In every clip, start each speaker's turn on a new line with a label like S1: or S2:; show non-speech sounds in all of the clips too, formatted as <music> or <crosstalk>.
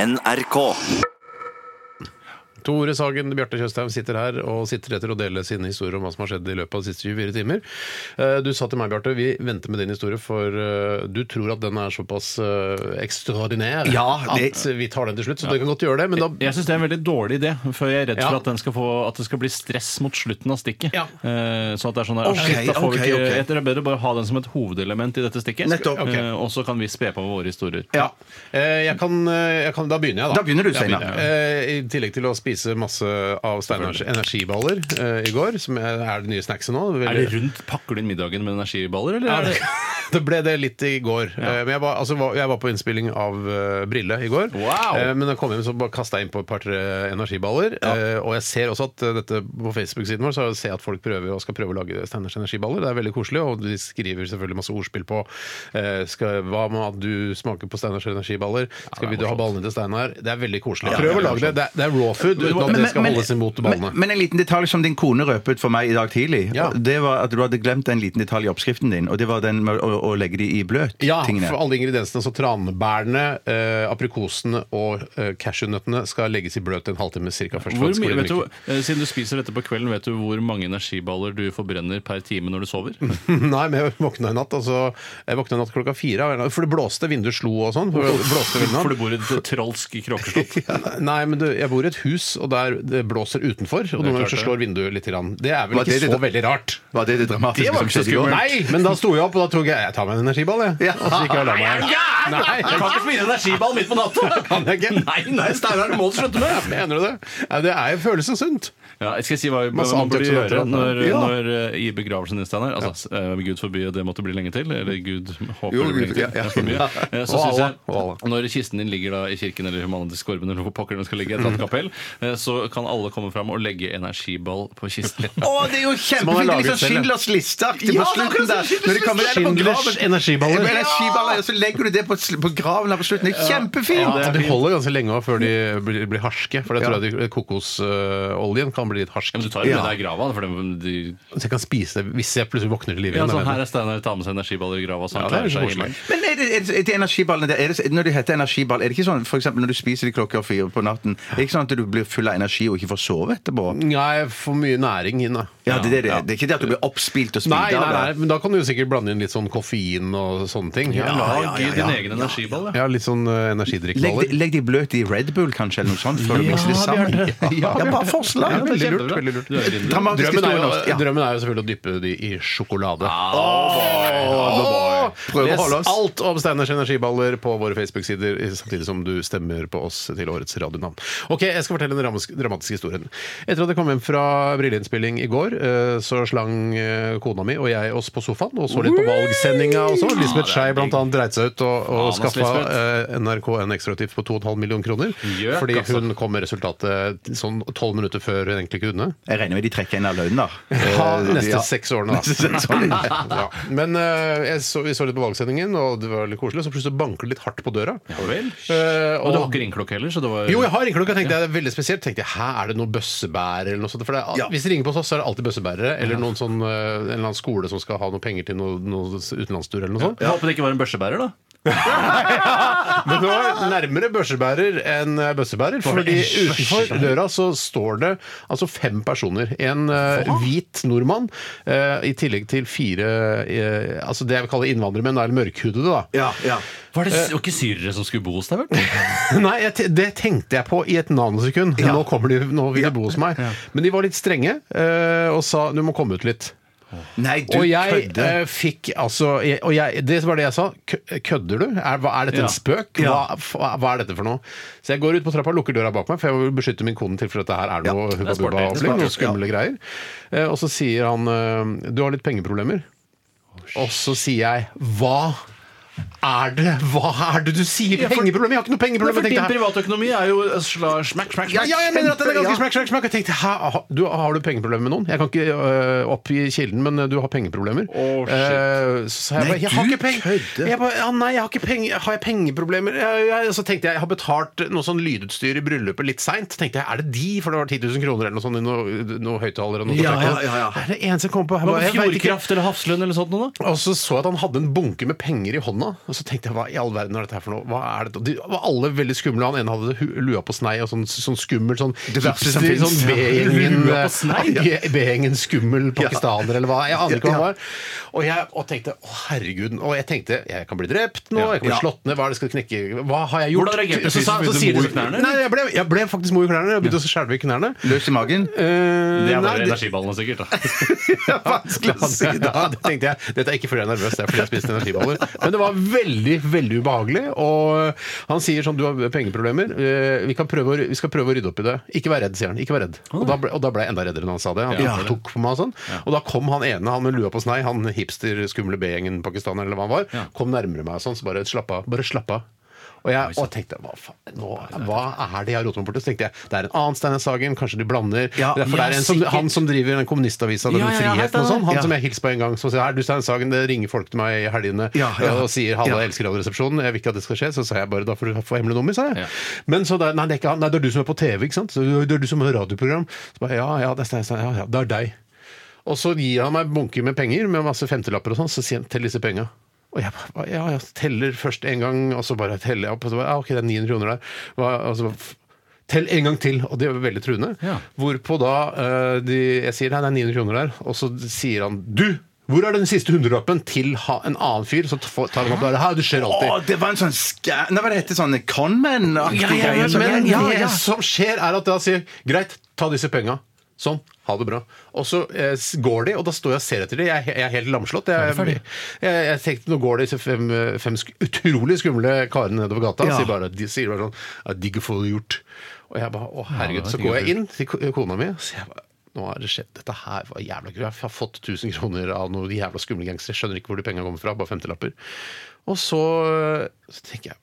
S1: NRK.
S2: Tore Sagen Bjarte Tjøstheim sitter her og sitter etter å dele sine historier om hva som har skjedd i løpet av de siste 24 timer. Eh, Du sa til meg, Bjarte, vi venter med din historie, for eh, du tror at den er såpass eh, ekstraordinær
S3: Ja, det-
S2: at eh, vi tar den til slutt. Så du kan godt gjøre det, men da
S4: Jeg syns det er en veldig dårlig idé, for jeg er redd
S2: Ja.
S4: for at, den skal få, at det skal bli stress mot slutten av stikket.
S2: Ja.
S4: Eh, så at det er sånn der,
S3: Ok,
S4: shit, da får vi
S3: ok,
S4: ikke,
S3: ok.
S4: Jeg tror det er bedre å bare ha den som et hovedelement i dette stikket. Eh,
S3: Nettopp.
S2: Ok.
S4: og så kan vi spe på med våre historier.
S3: Ja.
S2: Eh, jeg kan, eh, jeg kan, da begynner jeg, da.
S3: Da begynner du,
S2: Jeg
S3: Steinar.
S2: Eh, I tillegg til å spise masse av Steinars energiballer eh, i går, som er er det nye snackset nå. Veldig-
S4: Er det rundt pakker du inn middagen med energiballer, eller?
S2: Ja,
S4: er
S2: det,
S4: det- <laughs>
S2: <laughs> det ble det litt i går. Eh, Men jeg var, altså, var- jeg var på innspilling av eh, Brille i går.
S4: Wow!
S2: Eh, Men da jeg kom hjem, så bare kasta jeg innpå et par-tre energiballer. Eh, Og jeg ser også at eh, dette på Facebook-siden vår, så ser jeg at folk prøver og skal prøve å lage Steiners energiballer. Det er veldig koselig, og de skriver selvfølgelig masse ordspill på eh, skal, Hva med at du smaker på Steiners energiballer? Skal vi du ha ballene til Steinar? Det er veldig koselig. Prøv å lage det. Det er, det er raw food uten at det skal holdes imot ballene.
S3: Men, men en liten detalj som din kone røpet for meg i dag tidlig,
S2: Ja.
S3: det var at du hadde glemt en liten detalj i oppskriften din, og det var den med å, å legge de i bløt.
S2: Ja,
S3: tingene.
S2: for alle ingrediensene. Så tranbærene, eh, aprikosene og eh, cashewnøttene skal legges i bløt en halvtime cirka først. for
S4: Hvor
S2: at det skal
S4: mye,
S2: bli
S4: vet du,
S2: myke.
S4: eh, siden du spiser dette på kvelden, vet du hvor mange energiballer du forbrenner per time når du sover?
S2: <laughs> Nei, men jeg våkna i natt altså, Jeg våkna i natt klokka fire, av en- for det blåste, vinduer slo og sånn. For, det blåste veldig
S4: For
S2: natt.
S4: du bor i et trolsk kråkeslott.
S2: <laughs> Nei, men du, jeg bor i et hus, og der det blåser utenfor. Og noen ganger
S4: klart
S2: så
S4: det.
S2: slår vinduet litt. Grann. Det er vel
S3: Var
S2: ikke
S3: det det
S2: så
S3: da-
S2: veldig rart.
S3: Var det det dramatiske som skjedde i går?
S2: Nei, men da sto jeg opp, og da tok jeg Jeg tar meg en energiball, jeg.
S3: Ja.
S2: Og så gikk jeg og la meg. Nei, jeg
S4: ikke spise energiball midt på natta!
S2: kan jeg ikke.
S4: <laughs> Nei, nei, Steinar, det må du slutte med!
S2: Mener du det? Ja, det er jo følelsen sunt.
S4: Ja, jeg skal si hva vi-
S2: Masse
S4: man burde
S2: antioksidanter,
S4: gjøre når,
S2: ja.
S4: når, eh, i begravelsen din, Steinar. Altså, eh, Gud forby at det måtte bli lenge til. Eller Gud håper
S3: Jo,
S4: det blir lenge
S3: Gud,
S4: til.
S3: ja, ja.
S4: Jeg forbyr. Eh, Så
S2: Og
S4: synes
S2: Allah,
S4: jeg,
S2: og
S4: når kisten din ligger da i kirken eller Humanitisk Skorven eller hvor pokker den skal ligge, i et eller annet kapell, eh, så kan alle komme fram og legge energiball på kisten.
S3: Å, det er jo kjempefint! Det er
S2: laget selv,
S3: liksom
S2: ja.
S3: Schindlers listeaktig
S4: Ja, det
S3: på
S4: er
S3: slutten
S4: akkurat som
S3: der.
S4: Schindlers
S3: Når de kommer der på
S2: Schindlers
S3: graven-
S2: energiballer.
S3: Ja, Energiballer, og så legger du det på, sl- på graven her på slutten. Det er kjempefint!
S2: Ja, de holder ganske lenge også før de blir, blir harske. For det tror jeg de- kokosoljen kan bli litt harsk.
S4: Men du tar jo med deg i grava, for den, de
S2: Så jeg kan spise det hvis jeg plutselig våkner til live
S4: ja,
S2: igjen.
S4: sånn,
S2: jeg
S4: Her
S2: vet
S4: er Steinar, tar med seg energiballer i grava, så han
S2: Ja, det er
S4: klarer seg i
S2: koselig.
S4: himmelen.
S3: Men er det, er det, er det energiballene der, er det, Når det heter energiball, er det ikke sånn for eksempel når du spiser de klokka fire på natten, er det ikke sånn at du blir full av energi og ikke får sove etterpå?
S2: det. Nei, for mye næring inn, da.
S3: Ja, det, er det, det, er ikke det at du blir oppspilt
S2: Nei,
S3: og spilt
S2: nei,
S3: av
S2: nei,
S3: det.
S2: men da kan du jo sikkert blande inn litt sånn koffein og sånne ting.
S4: Lag
S2: Ja,
S4: din egen energiball, ja.
S2: ja litt sånn uh,
S3: Legg, de-
S2: energidrikkballer.
S3: legg de bløt i Red Bull, kanskje, eller noe sånt, før du mikser det sammen. Ja, bare forslag.
S4: Ja, det
S2: Veldig
S4: er
S2: lurt,
S4: kjempebra.
S2: veldig lurt.
S4: Du er gründer.
S3: Dramatisk
S2: Drømmen er,
S3: historie
S2: jo,
S3: norsk. Ja.
S2: drømmen er jo selvfølgelig å dyppe de i sjokolade.
S3: Åh, Prøv å
S2: Les
S3: holde oss.
S2: alt om Steiners energiballer på våre Facebook-sider, samtidig som du stemmer på oss til årets radionavn. Ok, Jeg skal fortelle den ramos- dramatiske historien. Etter at jeg kom hjem fra brilleinnspilling i går, eh, så slang eh, kona mi og jeg oss på sofaen og så litt på valgsendinga også. Lisbeth Skei bl.a. dreit seg ut og, og
S4: Faen, ass,
S2: skaffa eh, NRK en ekstrautgift på 2,5 millioner kroner.
S4: Gjøk,
S2: Fordi
S4: altså.
S2: hun kom med resultatet sånn 12 minutter før hun egentlig kunne.
S3: Jeg regner med de trekker inn av lønnen, da.
S2: Ha,
S3: Eh,
S2: neste
S3: ja.
S2: seks årene, da. <laughs> ja. Men eh, jeg så, vi så litt på valgsendingen, og det var litt koselig. Så plutselig banker det litt hardt på døra.
S4: Ja vel.
S2: Eh,
S4: Og du har ikke ringeklokke heller, så det var
S2: jo, jeg har ringeklokke. tenkte jeg, det er veldig spesielt. tenkte jeg, Hæ, er det noe bøssebærer eller noe sånt? For det er, Hvis de ringer på oss, så er det alltid bøssebærere. Eller noen sånn, eh, en eller annen skole som skal ha noe penger til noe, noe utenlandstur eller noe sånt.
S4: Jeg håper det ikke var en børsebærer, da.
S2: Men det var nærmere børsebærer enn eh, bøssebærer. Fordi utenfor døra så står det altså fem personer. En eh, hvit nordmann, eh, i tillegg til fire eh, altså det jeg vil kalle innvandrere, men da er det mørkhudede, da.
S3: Ja, ja.
S4: Var Eh, det var ikke syrere som skulle bo hos <laughs> deg, vel?
S2: <laughs> Nei, jeg, te- det tenkte jeg på i et nanosekund. Nå kommer de, nå vil de bo hos meg. Men de var litt strenge eh, og sa du må komme ut litt.
S3: Nei, du
S2: og jeg
S3: kødder.
S2: eh, fikk altså jeg, og jeg, Det var det jeg sa. Kø- Kødder du? Er, hva, er dette
S4: Ja.
S2: en spøk?
S3: Ja.
S2: Hva, f- hva er dette for noe? Så jeg går ut på trappa og lukker døra bak meg, for jeg vil beskytte min kone til for dette her er noe
S4: det er
S2: hubba
S4: smart,
S2: bubba
S4: det er
S2: opplegg,
S4: smart,
S2: noe skumle greier. Eh, og så sier han eh, du har litt pengeproblemer.
S4: Oh,
S2: og så sier jeg hva? Er det, hva er det du sier?
S4: Ja, for-
S2: pengeproblemer? Jeg har ikke noe pengeproblem!
S4: for
S2: tenkte
S4: din
S2: jeg.
S4: privatøkonomi er jo sla, smack, smack,
S2: Ja,
S4: smack.
S2: ja, jeg mener at den er ganske
S3: Ja.
S2: smack, smack, smack. Jeg tenkte, hæ, ha- du, Har du pengeproblemer med noen? Jeg kan ikke øh, oppgi kilden, men øh, du har pengeproblemer.
S4: Å, shit.
S2: Eh, så sa jeg
S3: Nei,
S2: bare, jeg har
S3: du
S2: ikke penger.
S3: kødder.
S2: Jeg bare, ja, nei, jeg har ikke penger. Har jeg pengeproblemer? Jeg, jeg, så tenkte jeg, jeg har betalt noe sånn lydutstyr i bryllupet litt seint. Tenkte jeg, er det de? For det var 10 000 kroner eller noe sånt i noe, noe høyttaler og noe
S3: Ja,
S2: forsterker.
S3: ja, ja, ja.
S2: Det er det eneste jeg kom på. Jeg
S4: Hva
S2: bare,
S4: med
S2: jeg vet ikke.
S4: Fjordkraft eller Hafslund eller sånt noe, da?
S2: Og så så jeg at han hadde en bunke med penger i hånda. korona. Og så tenkte jeg hva i all verden er dette her for noe? Hva er dette? De var alle veldig skumle. Han ene hadde hu- lua på snei og sånn, sånn skummel sånn
S3: Det verste som
S2: hipster,
S3: finnes.
S2: sånn B-gjengen
S4: <laughs> Lua på snei?
S2: Ja, B-gjengen skummel pakistaner eller hva. Jeg aner ikke hva han var. Og jeg og tenkte å herregud. Og jeg tenkte jeg kan bli drept nå, jeg kan bli
S3: Ja.
S2: slått ned, hva er det jeg skal knekke Hva har jeg gjort?
S4: Hvordan reagerte du?
S2: Så sa- så
S4: Begynte du å
S2: sier
S4: mo
S2: de
S4: i knærne, eller?
S2: sånn- Nei, jeg ble, jeg ble faktisk mo i knærne. Jeg begynte å skjelve i knærne.
S3: Løs i magen?
S2: Eh,
S4: Det er
S2: nei,
S4: bare energiballene, sikkert. da.
S2: det <laughs> er vanskelig å si da.
S4: <laughs>
S2: Det tenkte jeg. Dette er ikke fordi jeg er nervøs, det er fordi jeg spiste energiballer. Men det var veldig, veldig ubehagelig. Og han sier sånn, du har pengeproblemer, eh, vi, kan prøve å, vi skal prøve å rydde opp i det. Ikke vær redd, sier han. Ikke vær redd. Og da ble, og da ble jeg enda reddere når han sa det. Han
S4: Ja.
S2: tok på meg og sånn. Og da kom han ene, han med lua på snei, han hipster, skumle B-gjengen pakistaner eller hva han
S4: Ja.
S2: var, kom nærmere meg og sånn, så bare slapp av. Bare slapp av. Og jeg og tenkte hva, faen, nå, hva er det jeg roter meg bort i? Så tenkte jeg det er en annen Steinar Sagen, kanskje de blander.
S3: Ja,
S2: det er, for det er en som,
S4: ja, sikkert.
S2: han som driver den kommunistavisa, den
S4: Ja, ja, ja,
S2: friheten og
S4: dette er-
S2: sånn, han
S3: ja.
S2: som jeg hilste på en gang, som sier her, du Stein Sagen, det ringer folk til meg i helgene
S3: Ja, ja.
S2: og sier halla,
S3: Ja.
S2: jeg elsker Radioresepsjonen, jeg vil ikke at det skal skje, så sa jeg bare da får du få hemmelig nummer, sa jeg.
S4: Ja.
S2: Men så da, nei, det er ikke han, nei, det er du som er på TV, ikke sant? Så det er du som har radioprogram. Så bare ja, ja, det er Stein Sagen, ja, ja, det er deg. Og så gir han meg bunker med penger, med masse femtelapper og sånn, så sier han tell disse penga. Og jeg bare, ja, jeg teller først en gang, og så bare teller jeg opp, og så bare, ja, ok, det er 900 kroner der. Hva- Og så bare, f- Tell en gang til, og det var veldig truende.
S4: Ja.
S2: Hvorpå da eh, de, jeg sier nei, det er 900 kroner der, og så sier han du! Hvor er den siste hundrelappen til ha, en annen fyr? Så t- tar han opp der. Her, det skjer
S3: Å,
S2: alltid.
S3: det var en sånn skæ... Nei, hva det heter sånn conman-aktig
S4: Ja, ja, ja,
S3: greie.
S2: Men
S4: ja, ja, ja.
S2: det som skjer, er at da sier greit, ta disse penga. Sånn. Ha det bra. Og så eh, s- går de, og da står jeg og ser etter dem. Jeg, er he- jeg er helt lamslått. Jeg, jeg, jeg, tenkte nå går disse fem, eh, fem sk utrolig skumle karene nedover gata.
S3: Ja.
S2: Sier bare, de sier bare sånn ja, 'Digg å få det gjort'. Og jeg bare 'Å,
S4: Ja, det
S2: herregud'.
S4: var
S2: Så
S4: digg å
S2: går
S4: få
S2: jeg inn til ko- kona mi, og sier jeg bare nå har det skjedd. Dette her var jævla gøy. Jeg har fått 1000 kroner av noen jævla skumle gangstere. Jeg Skjønner ikke hvor de penga kommer fra. Bare femtilapper. Og så, så tenker jeg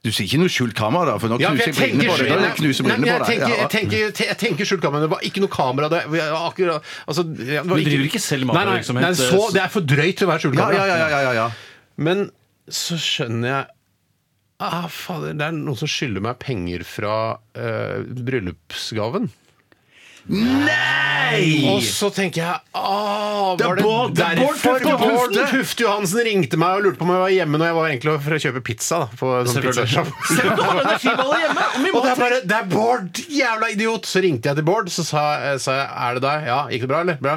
S3: Du sier ikke noe skjult kamera, da, for nå
S2: ja, for
S3: knuser
S2: jeg
S3: jeg brillene
S2: tenker
S3: på deg. Da
S2: skjult-
S3: knuser
S2: Nei, men
S3: brillene
S2: jeg
S3: på deg.
S2: tenker-
S3: Ja.
S2: Jeg tenker- te- jeg tenker skjult kamera. Det var ikke noe kamera der. Vi er akkurat- altså, jeg- det var
S4: Du driver
S2: ikke-
S4: ikke selv
S2: Nei, nei,
S4: matvirksomhet,
S2: nei, så- Det er for drøyt til å være skjult
S3: Ja,
S2: kamera.
S3: ja, ja, ja, ja, ja.
S2: Men så skjønner jeg Ah, fader, Det er noen som skylder meg penger fra eh, bryllupsgaven. Og
S3: Nei!
S2: så tenker jeg ah,
S3: Det er
S2: var det
S3: Bård- det er Bård
S2: derfor
S3: Tufte og
S2: Bård
S3: Tufte.
S2: Tufte Johansen ringte meg og lurte på om jeg var hjemme når jeg var egentlig for å kjøpe pizza? da På sånn
S4: Selvfølgelig.
S3: <laughs>
S2: pizzasjapp.
S4: Energiballer hjemme! og vi må
S2: Og det er bare Det er Bård! Jævla idiot! Så ringte jeg til Bård, så sa, eh, sa jeg Er det deg? Ja. Gikk det bra, eller? Bra.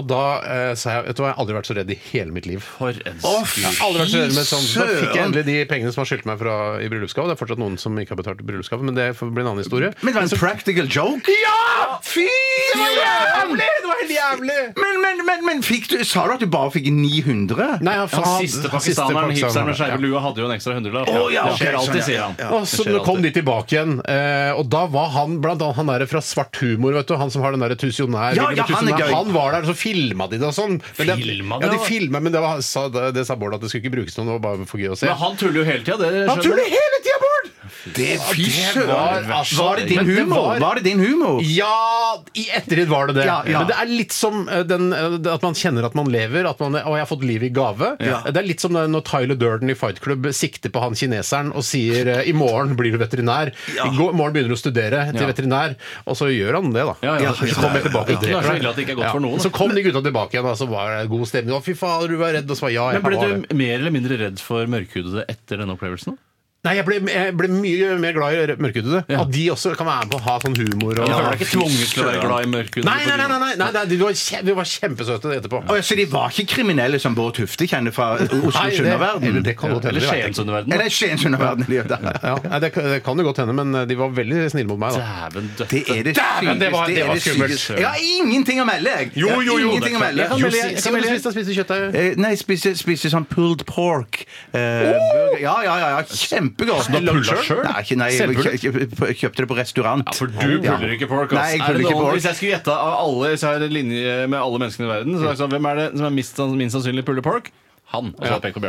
S2: Og da eh, sa jeg Vet du hva, jeg har aldri vært så redd i hele mitt liv.
S4: <laughs> For en
S3: Å,
S4: skur.
S2: Jeg har aldri vært så redd med sånn Så fikk jeg
S3: Søren.
S2: endelig de pengene som har skyldt meg fra i bryllupsgave. Det er fortsatt noen som ikke har betalt bryllupsgave, men det får bli en annen historie.
S3: Men det var en practical joke.
S2: Altså- Ja!
S3: Fy!
S2: Det var
S3: jævlig!
S2: jævlig! Det var helt jævlig!
S3: Men, men, men, men fikk du, sa du at du bare fikk 900?
S2: Nei, han,
S4: Ja,
S2: han-
S4: Han siste pakistaneren, hipsteren med skeive lue, hadde jo en ekstra hundrelapp.
S3: Å, ja,
S4: Det
S3: ok,
S4: skjer
S3: sånn,
S4: alltid,
S3: ja.
S4: sier han.
S2: Og så
S4: Det skjer
S2: kom de
S4: alltid.
S2: tilbake igjen. Eh, og da var han blant annet han der fra Svart humor, vet du. Han som har den derre tusionær.
S3: Ja,
S2: Ville med
S3: ja, han er
S2: tusenær.
S3: gøy.
S2: han var der, og så filma de det og sånn. Men det-
S4: Filma det,
S2: ja, de
S4: da?
S2: filma, men det, var, sa, det sa Bård at det skulle ikke brukes noe, det var bare for gøy å se.
S4: Men han tuller jo hele tida, det
S2: Han
S4: skjønner
S2: tuller
S4: du.
S2: hele tida, Bård!
S3: Det, fy
S2: det
S3: søren!
S2: var-
S3: Var,
S2: altså,
S3: det
S2: men
S3: din
S2: det
S3: humor?
S2: var-
S3: Var det din humor?
S2: Ja, i ettertid var det det.
S3: Ja, ja.
S2: Men det er litt som eh, den, eh, det at man kjenner at man lever, at man, og jeg har fått livet i gave. Eh,
S3: Ja.
S2: Det er litt som det når Tyler Durden i Fight Club sikter på han kineseren og sier eh, i morgen blir du veterinær. I går, morgen begynner du å studere til
S4: Ja.
S2: veterinær. Og så gjør han det, da.
S4: Ja, ja.
S2: Så kommer jeg tilbake og
S4: Ja, det er så
S2: dreper
S4: ille at det ikke er
S2: deg.
S4: godt for noen, da.
S2: Så kom de gutta tilbake igjen, og så var det god stemning. Å, fy fader, du var redd. Og så var ja, jeg
S4: Men ble
S2: var det.
S4: du mer eller mindre redd for mørkhudede etter denne opplevelsen?
S2: Nei, jeg ble, jeg ble mye mer glad i mørkhudede.
S4: Ja.
S2: At de også kan være med på å ha sånn humor. Og,
S4: Ja, du ble ikke tvunget til å være glad i mørkhudede?
S2: Nei, nei, nei, nei, nei, nei, nei de, var kje, de var kjempesøte etterpå.
S3: Å, ja, så de var ikke kriminelle som Bård Tufte kjenner fra
S2: Nei, det- eller
S3: Oslo-Sunderverden?
S2: det kan godt hende, det vet
S4: Eller
S2: jeg ikke.
S4: Skiensunderverdenen?
S3: Eller Skien-Sunderverden? de gjør det.
S2: Ja, nei, det, det kan jo godt hende, men eh, de var veldig snille mot meg. da
S4: Dæven
S3: Det
S4: døtte.
S3: er det
S2: Dæven, det var- det var skummelt.
S3: sykeste. Jeg har ingenting å melde, jeg! Jeg har Ingenting å melde.
S2: Jeg kan
S3: Jo,
S2: melde-
S3: si-
S2: jeg
S3: si-
S2: kan melde- spiste- spiste kjøttdeig.
S3: Eh, Nei, spise, spise sånn pulled pork. Eh, burger. Ja, ja, ja, ja. Kjempegodt.
S2: du har pullet Sånn selv?
S3: Nei, ikke- nei, jeg
S2: Selvpullet?
S3: kjø- kjø- kjøpte det på restaurant.
S4: Ja, for du puller ikke pork, ass.
S3: Nei, jeg
S4: Er det
S3: puller ikke
S4: noen-
S3: pork.
S4: Hvis jeg skulle gjette av alle så er det linje med alle menneskene i verden, så er det sånn, hvem er det som er minst, minst sannsynlig puller pork? Han. Og så hadde jeg pekt på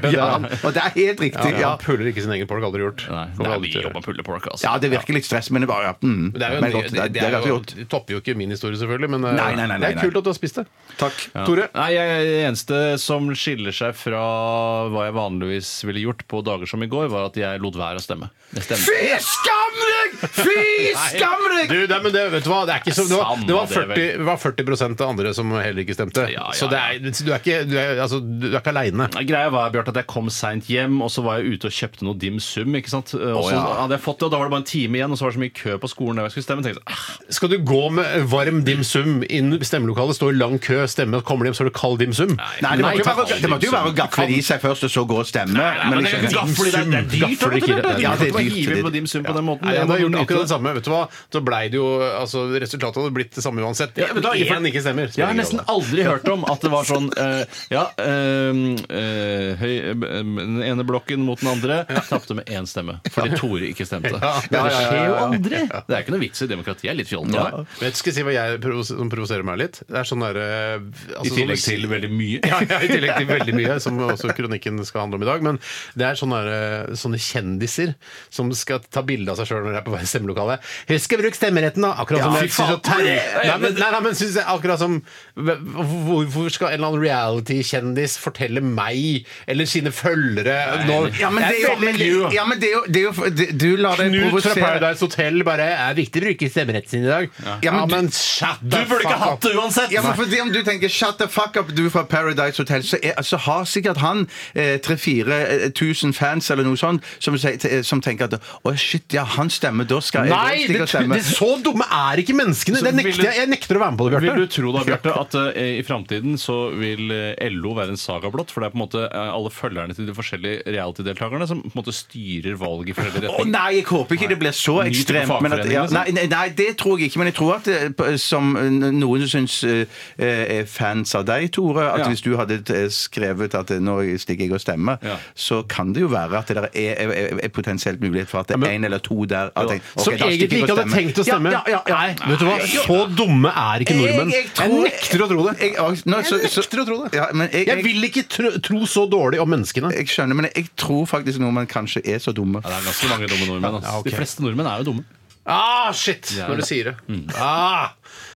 S4: Bjarte.
S3: Ja, og det er helt riktig.
S2: Ja,
S3: Ja,
S2: han puller ikke sin egen folk, aldri gjort.
S4: Nei,
S2: Kommer
S4: nei,
S2: aldri
S4: vi
S2: til å gjøre.
S4: jobber puller pork, altså.
S3: ja det virker litt stress, men det var ja, mm,
S2: Men det er jo,
S3: men
S2: en-
S3: godt. Det,
S2: det, det er
S3: ganske
S2: jo,
S3: godt.
S2: det topper jo ikke min historie, selvfølgelig, men eh,
S3: Nei, nei, nei,
S2: det er
S3: nei,
S2: kult
S3: nei.
S2: at du har spist det.
S3: Takk.
S4: Ja.
S2: Tore?
S4: Nei, jeg er det eneste som skiller seg fra hva jeg vanligvis ville gjort på dager som i går, var at jeg lot være å stemme. Jeg stemte.
S3: Fy skam deg! Fy skam deg!
S2: Du, nei, men det, vet du hva, det, er ikke så, det, var,
S4: Samme
S2: det var
S4: det, vel.
S2: 40, det var 40 av andre som heller ikke stemte.
S4: Ja, ja,
S2: Så det er, du, er ikke, du, er, altså, du er ikke aleine.
S4: Nei, Greia var Bjørte, at jeg kom seint hjem, og så var jeg ute og kjøpte noe dim sum. ikke sant? Og så
S2: ja.
S4: hadde jeg fått det, og da var det bare en time igjen, og så var det så mye kø på skolen. der jeg skulle stemme, tenkte jeg, ah,
S2: Skal du gå med varm dim sum inn i stemmelokalet, stå i lang kø, stemme, kommer hjem, så er det kald dim sum?
S3: Nei, det måtte jo
S2: takk.
S3: være, det måtte jo være å gafle det i seg først, og så gå og stemme.
S4: men det er
S3: Men jeg
S4: jo
S3: skjønner.
S4: gaffel i det, det er dyrt!
S2: Gaffel ikke,
S4: vet du.
S2: ja,
S3: det er
S4: Du kan ikke
S3: dyrt,
S4: hive
S3: det er
S4: på dim sum på den måten.
S2: Nei, jeg hadde gjort
S4: Nyte
S2: akkurat
S4: det.
S2: det samme. vet du hva? Da blei det jo altså, Resultatet hadde blitt det samme uansett.
S4: Ja, men da-
S2: ikke for den ikke stemmer.
S4: Jeg har nesten aldri hørt om at det var sånn eh, Ja, ehm, eh, høy, eh, den ene blokken mot den andre tapte med én stemme fordi Tore ikke stemte.
S2: ja,
S4: Det
S2: ja,
S4: skjer jo
S2: ja, ja.
S4: aldri! Det er ikke noe vits i demokrati. Jeg er litt fjollete av meg.
S2: Vet du skal jeg si hva jeg provos som provoserer meg litt? Det er sånn altså, derre
S4: I tillegg til veldig mye.
S2: <laughs> ja, ja, I tillegg til veldig mye, som også kronikken skal handle om i dag. Men det er sånne, der, sånne kjendiser som skal ta bilde av seg sjøl når de er på vei i stemmelokalet. Husk å bruke stemmeretten, da! Akkurat som
S4: Ja,
S2: jeg
S4: fy faen.
S2: synes at Terje- Nei, men, nei, nei, men synes jeg akkurat som Hvorfor skal en eller annen reality-kjendis fortelle meg eller sine følgere nå,
S3: Ja, men det er jo- men det- ja, men det er jo- det er jo det- Du lar deg
S2: Knut fra
S3: provosere.
S2: Paradise Hotel bare er viktig å bruke stemmeretten sin i dag.
S3: Ja, men du-
S2: shut
S4: Du burde ikke hatt det uansett!
S3: Ja, men fordi om du tenker 'shut the fuck up, du fra Paradise Hotel', så, er, så har sikkert han eh, 3000-4000 fans eller noe sånt som, sier- t- eh, som tenker at 'å shit, ja, han stemmer, da skal jeg
S2: Nei!
S3: stikke
S2: Det,
S3: og stemme'.
S2: det, så dumme er ikke menneskene!
S4: Så
S2: Det
S4: vil
S2: nekter,
S4: du-
S2: jeg- jeg nekter å være med på det, Bjarte.
S4: Vil du tro da, Bjarte, at eh, i framtiden så vil eh, LO være en saga blått? For det er på en måte eh, alle følgerne til de forskjellige reality-deltakerne som på en måte styrer valget i forskjellige
S3: Å
S4: retninger.
S3: nei, jeg håper ikke det blir så
S4: Ny type
S3: ekstremt. Men at,
S4: fagforening,
S3: ja,
S2: altså.
S3: nei,
S4: liksom.
S3: nei, nei, det tror jeg ikke. Men jeg tror at eh, på- som eh, noen syns eh, er fans av deg, Tore, at
S4: Ja.
S3: hvis du hadde eh, skrevet at eh, nå stikker jeg og stemmer,
S4: Ja.
S3: så kan det jo være at det der er, er, er, er potensielt mulighet for at det er én eller to der at jeg- ok,
S2: Som
S3: da stikker
S2: egentlig
S3: jeg
S2: ikke
S3: og
S2: hadde
S3: stemmer.
S2: tenkt å stemme.
S3: Ja, ja, ja, ja.
S2: Vet du hva? Så dumme er ikke nordmenn.
S3: Jeg-
S2: Jeg,
S3: jeg tror-
S2: nekter å tro det.
S3: Jeg, og- nå, så, så,
S2: nekter å tro det.
S3: ja, men jeg,
S2: Jeg
S3: jeg,
S2: vil ikke tro, tro så dårlig om menneskene.
S3: jeg skjønner, men jeg tror faktisk nordmenn kanskje er så dumme.
S4: Ja, det er ganske mange dumme nordmenn. ass.
S2: Ja, ok.
S4: De fleste nordmenn er jo dumme.
S2: Ah, shit!
S4: Ja.
S2: Når du sier det. Ah,